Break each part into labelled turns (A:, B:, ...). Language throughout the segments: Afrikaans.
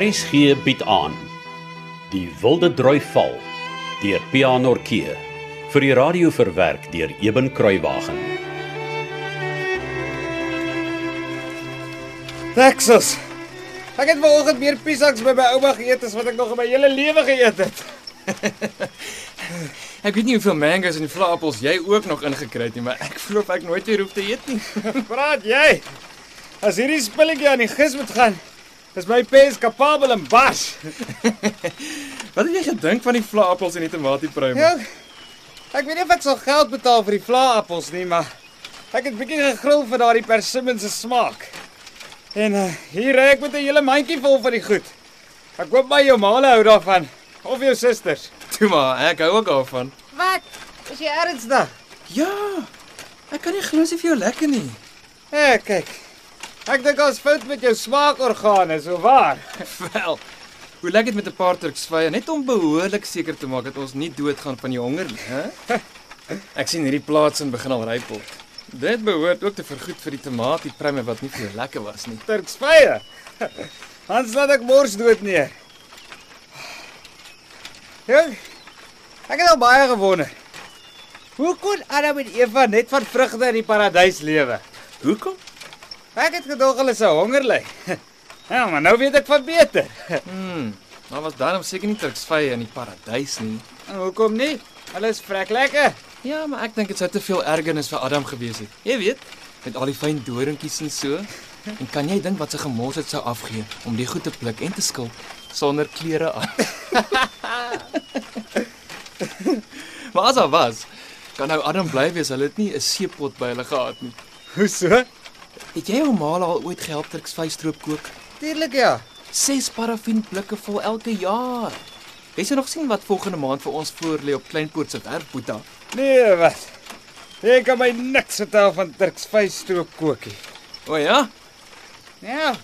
A: RSG bied aan Die Wilde Droi Val deur Pianorkee vir die radio verwerk deur Eben Kruiwagen.
B: Texas. Ek het vanoggend meer piesaks by my ouma geëet as wat ek nog in my hele lewe geëet het.
C: Ek weet nie hoeveel mangoes en vlaappels jy ook nog ingekry het nie, maar ek voel of ek nooit weer hoef te eet nie.
B: Praat jy? As hierdie spulletjie aan die gis moet gaan, is my pens kapabel en bars.
C: Wat het jy gedink van die vlaappels en die tomatiepruim?
B: Ja. Ek weet nie of ek sal geld betaal vir die vlaappels nie, maar ek het bietjie gegril vir daardie persimmen se smaak. En uh, hier ry ek met 'n hele mandjie vol van die goed. Ek hoop my jou ma hou daarvan of jou susters.
C: Toe maar, ek hou ook daarvan.
B: Wat? Is jy ernstig?
C: Ja. Ek kan nie glo dit vir jou lekker nie.
B: Ja, kyk. Ek dink ons fout met jou smaakorgane, so waar.
C: Wel. Hoe lekker dit met 'n paar turksvye net om behoorlik seker te maak dat ons nie doodgaan van die honger nie, hè? Ek sien hierdie plaas in begin al rypel. Dit behoort ook te vergoed vir die tomatiepruime wat nie vir jou lekker was nie.
B: Turks vye. Hans laat ek mors dood neer. Jong, ek het al baie gewonder. Hoe kon Adam en Eva net van vrugte in die paradys lewe?
C: Hoekom?
B: Ek het gedog hulle sou honger ly. Ja, maar nou weet ek van beter.
C: Hm. Maar was daarom seker nie turksvye in die paradys nie.
B: En hoekom nie? Hulle is vrek lekker.
C: Ja, maar ek dink dit sou te veel ergernis vir Adam gewees het. Jy weet, met al die fyn doringkies en so. En kan jy dink wat se gemors dit sou afgee om die goed te pluk en te skil sonder klere aan? maar as al was, kan nou Adam bly wees hulle het nie 'n seepot by hulle gehad nie.
B: Hoe so?
C: Het jy hom al ooit gehelp terwyl hy stroop kook?
B: Tuurlik ja.
C: 6 paraffin blikke vol elke jaar. Jy sal nog sien wat volgende maand vir ons voorlê op Kleinpoort se werfboeta.
B: Nee, wat? Ek kan my niks vertel van Turks vysstroop kookie.
C: O ja,
B: Ja.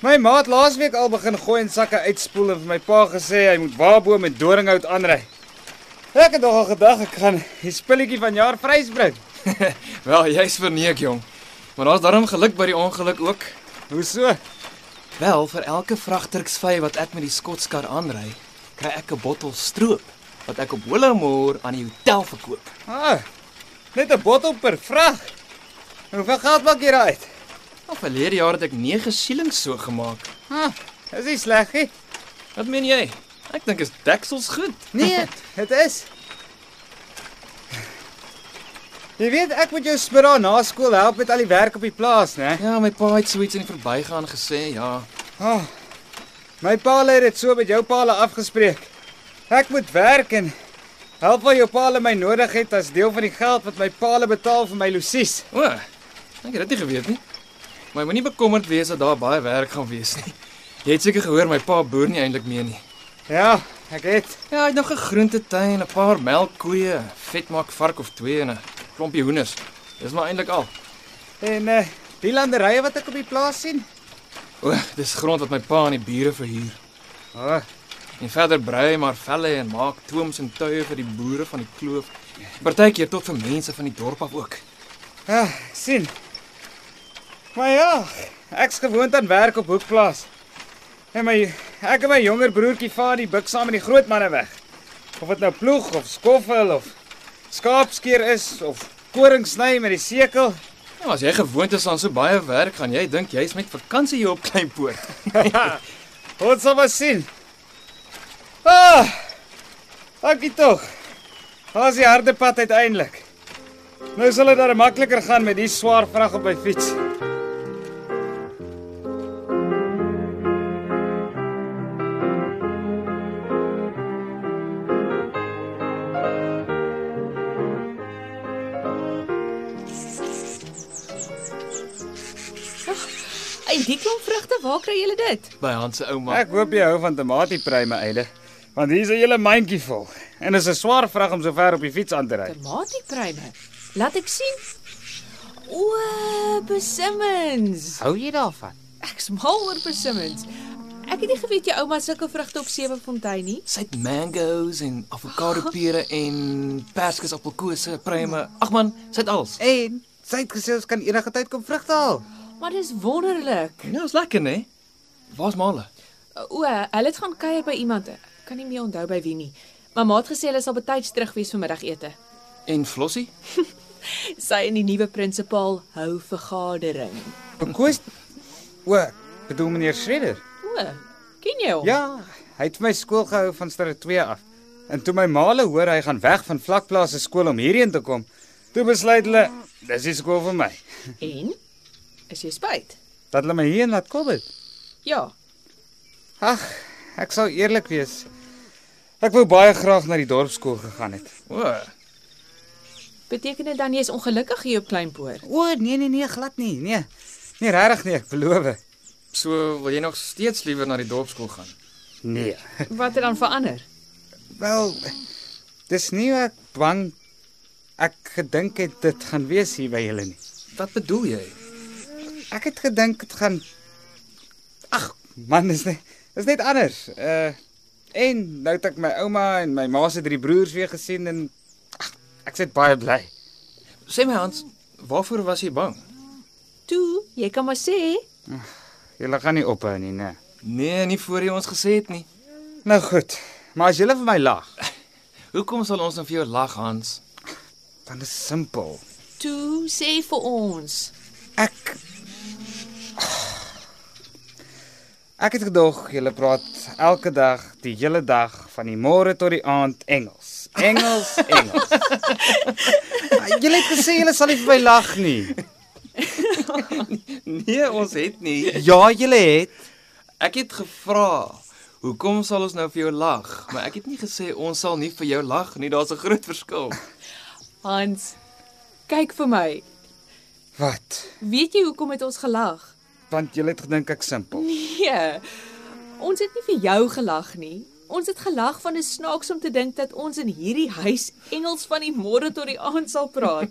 B: My ma het laasweek al begin gooi en sakke uitspoel en vir my pa gesê hy moet waarbo met doringhout aanry. Ek het nogal gedag ek gaan die spulletjie van jaar vrysbring.
C: Wel, jy's verneek, jong. Maar daar's daarom geluk by die ongeluk ook.
B: Hoe so?
C: Wel, vir elke vragterksvy wat ek met die skotskar aanry, kry ek 'n bottel stroop wat ek op Willowmoor aan die hotel verkoop.
B: Ah. Net 'n bottel per vrag. Hoeveel geld maak jy daai uit?
C: Al verlede jaar het ek 9 shillings so gemaak.
B: Ah, is nie sleg nie.
C: Wat meen jy? Ek dink is deksels goed.
B: Nee, dit is. Jy weet ek moet jou smiddag na skool help met al die werk op die plaas, né?
C: Ja, my pa het so iets in die verbygaan gesê, ja.
B: Ah. My pa het dit so met jou paal afgespreek. Ek moet werk en help waar jou paal my nodig het as deel van die geld wat my paal betaal vir my losies.
C: O, ek het dit nie geweet nie. Maar jy moenie bekommerd wees dat daar baie werk gaan wees nie. Jy het seker gehoor my pa boer nie eintlik meer nie.
B: Ja, ek het.
C: Ja, hy het nog 'n groentetuin, 'n paar melkkoeie, 'n vetmaak vark of twee en 'n klompie hoenders. Dis maar eintlik al.
B: En eh uh, die landerye wat ek op die plaas sien.
C: O, dis grond wat my pa aan die bure verhuur.
B: Ah,
C: En verder brei hy maar velle en maak toems en tuie vir die boere van die kloof. Partykeer tot vir mense van die dorp af ook.
B: ah sien. Maar ja, ek's gewoond aan werk op hoekplaas. En my ek en my jonger broertjie vaar die bik saam met die groot manne weg. Of dit nou ploeg of skoffel of skaapskeer is of koring sny met die sekel.
C: Ja, as jy gewoond is aan so baie werk, gaan jy dink jy's met vakansie hier op Kleinpoort.
B: Ons sal maar sien. Ah! Dankie tog. Daar's die harde pad uiteindelik. Nou sal dit darem makliker gaan met die swaar vrag op my fiets.
D: Uit die klomp vrugte, waar kry julle dit?
C: By Hans se ouma.
B: Ek hoop jy hou van tomatiepruime eile, want hier's 'n hele mandjie vol en dit is 'n swaar vrag om so ver op die fiets aan te ry.
D: Tomatiepruime. Laat ek sien. O, besimmons.
B: Hou jy daarvan?
D: Ek's mal oor besimmons. Ek het nie geweet jou ouma sulke vrugte op Sewefontein nie.
C: Sy het mangoes en avokado pere en perskasappelkose, pruime. Ag man, sy het alles.
B: En sy het gesê ons kan enige tyd kom vrugte haal.
D: Maar dis wonderlik.
C: Ja, is lekker, né? Waar's Male?
D: O, hulle het gaan kuier by iemand. Ek Kan nie meer onthou by wie nie. Maar ma het gesê hulle sal betyds terug wees vir middagete.
C: En Flossie?
D: Sy en die nuwe prinsipaal hou vergadering.
B: Bekoos O, bedoel meneer Schredder?
D: O, ken jy hom?
B: Ja, hy het vir my skool gehou van standaard 2 af. En toe my maale hoor hy gaan weg van vlakplaas se skool om hierheen te kom, toe besluit hulle dis die skool vir my.
D: En is jy spyt?
B: Dat hulle my hierheen laat kom het.
D: Ja.
B: Ag, ek sal eerlik wees. Ek wou baie graag na die dorpsskool gegaan het.
C: O,
D: Beteken dit dan jy's ongelukkig hier op Kleinpoort?
B: O, nee nee nee, glad nie. Nee. Nee, regtig nie, ek beloof.
C: so wil jy nog steeds liewer na die dorpsskool gaan?
B: Nee.
D: Wat het dan verander?
B: Wel, dis nie wat ek bang ek gedink het dit gaan wees hier by julle nie.
C: Wat bedoel jy?
B: Ek het gedink dit gaan Ag, man, dis net dis net anders. Uh en nou het ek my ouma en my ma se drie broers weer gesien en ag, ek sit baie bly.
C: Sê my Hans, waarvoor was jy bang?
D: Toe, jy kan maar sê,
B: Julle gaan nie ophou nie, né?
C: Nee, nie voor jy ons gesê het nie.
B: Nou goed. Maar as julle vir my lag,
C: Hoekom sal ons nou vir jou lag, Hans?
B: dan is simpel.
D: toe sê vir ons.
B: Ek Ek het gedog julle praat elke dag, die hele dag van die môre tot die aand Engels. Engels, Engels. Maar julle het gesê julle sal nie vir my lag nie.
C: Nee, ons het nie.
B: Ja, julle het.
C: Ek het gevra, hoekom sal ons nou vir jou lag? Maar ek het nie gesê ons sal nie vir jou lag nie. Daar's 'n groot verskil.
D: Hans, kyk vir my.
B: Wat?
D: Weet jy hoekom het ons gelag?
B: Want julle het gedink ek simpel.
D: Nee. Ons het nie vir jou gelag nie. Ons het gelag van 'n snaaks om te dink dat ons in hierdie huis Engels van die môre tot die aand sal praat.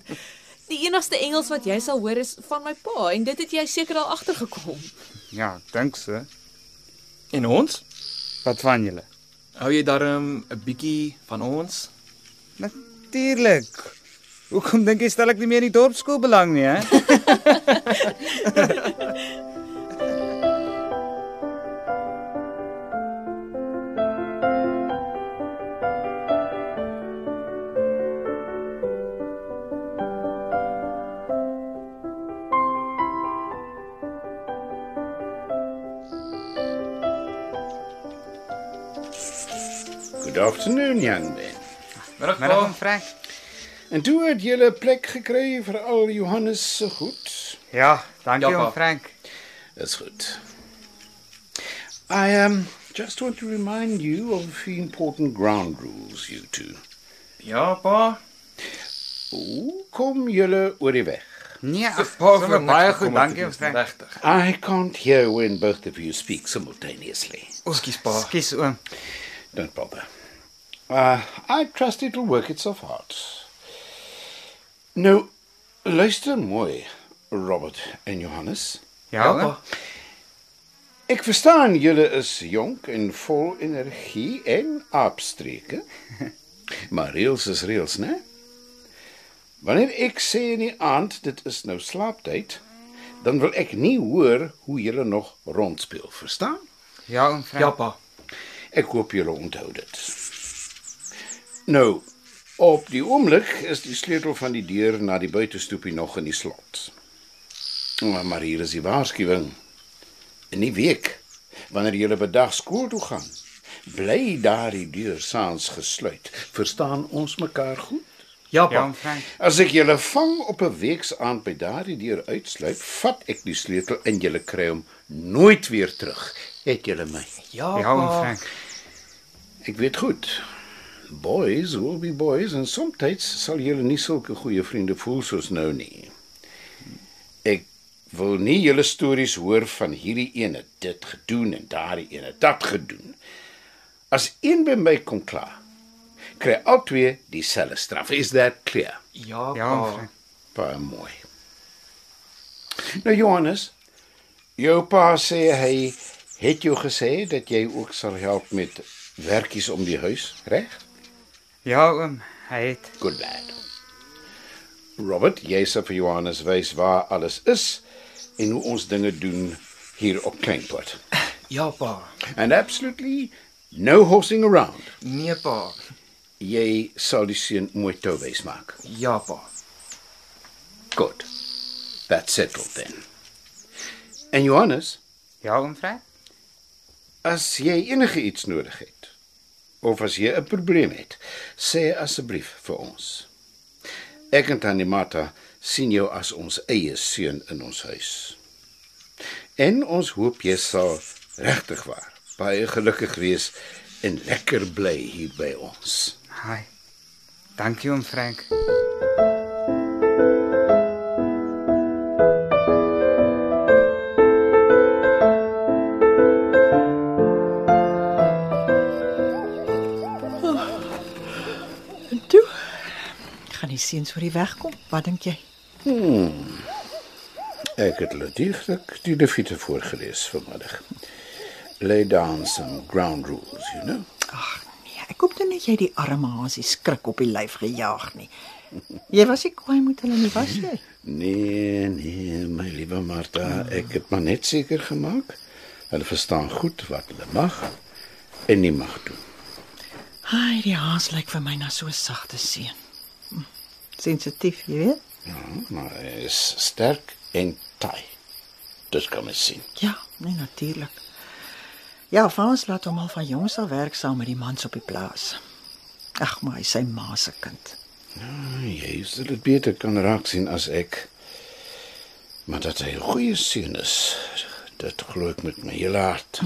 D: Die enigste Engels wat jy sal hoor is van my pa en dit het jy seker al agtergekom.
B: Ja, ek dink so.
C: En ons?
B: Wat van julle?
C: Hou jy darm 'n bietjie van ons?
B: Natuurlik. Hoekom dink jy stel ek nie meer in die dorpsskool belang nie, hè?
E: Good afternoon, young men.
C: Middag,
B: Middag,
C: pa.
B: Frank.
E: En toe het julle 'n plek gekry vir al Johannes se goed.
B: Ja, dankie
C: Ja, pa.
B: oom Frank.
E: Dis goed. I um just want to remind you of a few important ground rules you two.
C: Ja, pa.
E: Hoe kom julle oor die weg?
B: Nee, ag, pa,
C: Sommer
B: vir
C: niks
B: baie
C: gekom
B: goed,
C: om te
B: dankie oom
C: doen,
B: Frank.
C: Regtig.
E: I can't hear when both of you speak simultaneously.
C: Ekskuus, pa.
B: Skus oom.
E: Don't bother. Uh, I trust it'll work itself out. Nou, luister mooi, Robert en Johannes.
B: Ja, oom.
E: Ek verstaan julle is jonk en vol energie en aapstreke. Maar reëls is reëls, né? Wanneer ek sê in die aand dit is nou slaaptyd, dan wil ek nie hoor hoe julle nog rondspeel, verstaan?
B: Ja, oom Frank.
C: Ja, pa.
E: Ek hoop julle onthou dit. Nou, op die oomblik is die sleutel van die deur na die buitestoepie nog in die slot. Maar, maar hier is die waarskuwing. In die week wanneer julle bedag skool toe gaan, bly daardie deur saans gesluit. Verstaan ons mekaar goed?
C: Ja,
B: Ja,
C: pa.
B: oom Frank.
E: As ek julle vang op 'n week se aand by daardie deur uitsluit, vat ek die sleutel en julle kry hom nooit weer terug. Het julle my?
C: Ja,
B: Ja, oom
C: pa.
B: Frank.
E: Ek weet goed. Boys will be boys en soms sal julle nie sulke goeie vriende voel soos nou nie. Ek wil nie julle stories hoor van hierdie ene het dit gedoen en daardie ene het dat gedoen. As een by my kom klaar, kry albei dieselfde straf. Is that clear?
C: Ja,
B: Ja, oom
C: pa.
B: Frank.
E: Baie mooi. Nou Johannes, jou pa sê hy het jou gesê dat jy ook sal help met werkies om die huis, reg?
B: Ja, oom. Hy het.
E: Good lad. Robert, jy sê vir Johannes wys waar alles is en hoe ons dinge doen hier op Kleinport.
C: Ja pa.
E: and absolutely no horsing around.
C: Nee pa.
E: Jy sal die seun mooi touwys maak.
C: Ja pa.
E: Good. That's settled then. En Johannes,
B: Ja, oom Fred.
E: as jy enige iets nodig het of as jy 'n probleem het, sê asseblief vir ons. Ek en Tannie Martha sien jou as ons eie seun in ons huis. En ons hoop jy sal regtig waar baie gelukkig wees en lekker bly hier by ons.
B: Hi. Dankie oom Frank.
F: En toe gaan die seuns oor die weg kom. Wat dink jy?
E: Ek het letterlik die defiete voorgeles vanmiddag. Lay down some ground rules, you know.
F: Ag nee, ek hoop dan net jy die arme hasie skrik op die lyf gejaag nie. Jy was nie kwaai met hulle nie, was jy?
E: Nee, nee, my liewe Martha, ek het maar net seker gemaak. Hulle verstaan goed wat hulle mag en nie mag doen.
F: Ai, die haas lyk vir my na so 'n sagte seun. Hm, Sensitief, jy weet?
E: Ja, maar hy is sterk en taai. Dis kan mens sien.
F: Ja, nee natuurlik. Ja, Frans laat hom al van jongs af werk saam met die mans op die plaas. Ag, maar hy is sy ma se kind.
E: Jy sal dit beter kan raak sien as ek. Maar dat hy 'n goeie seun is, dit glo ek met my hele hart.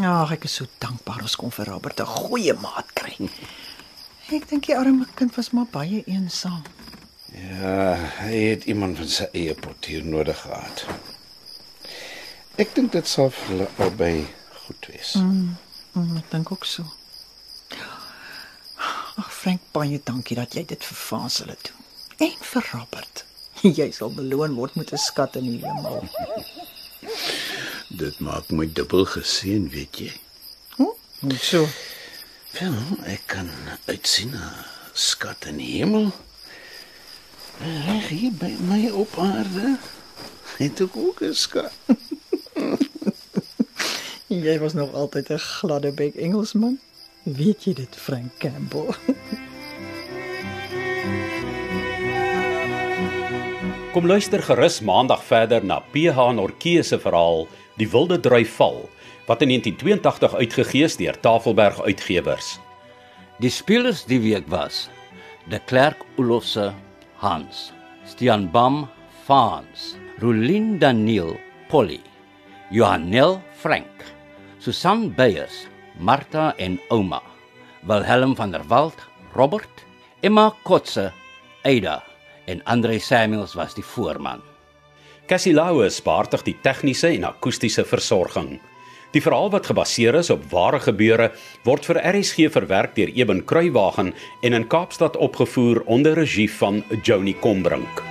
F: Ag, ek is so dankbaar ons kon vir Robert 'n goeie maat kry. Ek dink die arme kind was maar baie eensaam.
E: Ja, hy het iemand van sy eie portier nodig gehad. Ek dink dit sal vir hulle albei goed wees. Mm.
F: Mm, ek dink ook so. Ag Frank, baie dankie dat jy dit vir Frans hulle doen. En vir Robert. Jy sal beloon word met 'n skat in die hemel.
E: Dit maak my dubbel geseën, weet jy.
F: Net so.
E: Wel, ek kan uitsien na skat in die hemel. Reg hier by my op aarde. Het ek ook 'n skat.
F: Jy was nog altyd 'n gladde bek Engelsman. Weet jy dit, Frank Campbell?
A: Kom luister gerus maandag verder na PH Nortjee se verhaal Die Wilde Drui Val wat in 1982 uitgegee is deur Tafelberg Uitgewers.
G: Die spelers die week was: De Klerk Olofse, Hans, Stian Bam, Fans, Rulin Daniel, Polly, Johanel Frank, Susan Beyers, Martha en Ouma, Wilhelm van der Walt, Robert, Emma Kotse, Ada en Andre Samuels was die voorman.
A: Cassie Lauers beheerdig die tegniese en akoestiese versorging. Die verhaal wat gebaseer is op ware gebeure word vir RSG verwerk deur Eben Kruiwagen en in Kaapstad opgevoer onder regie van Joni Combrink.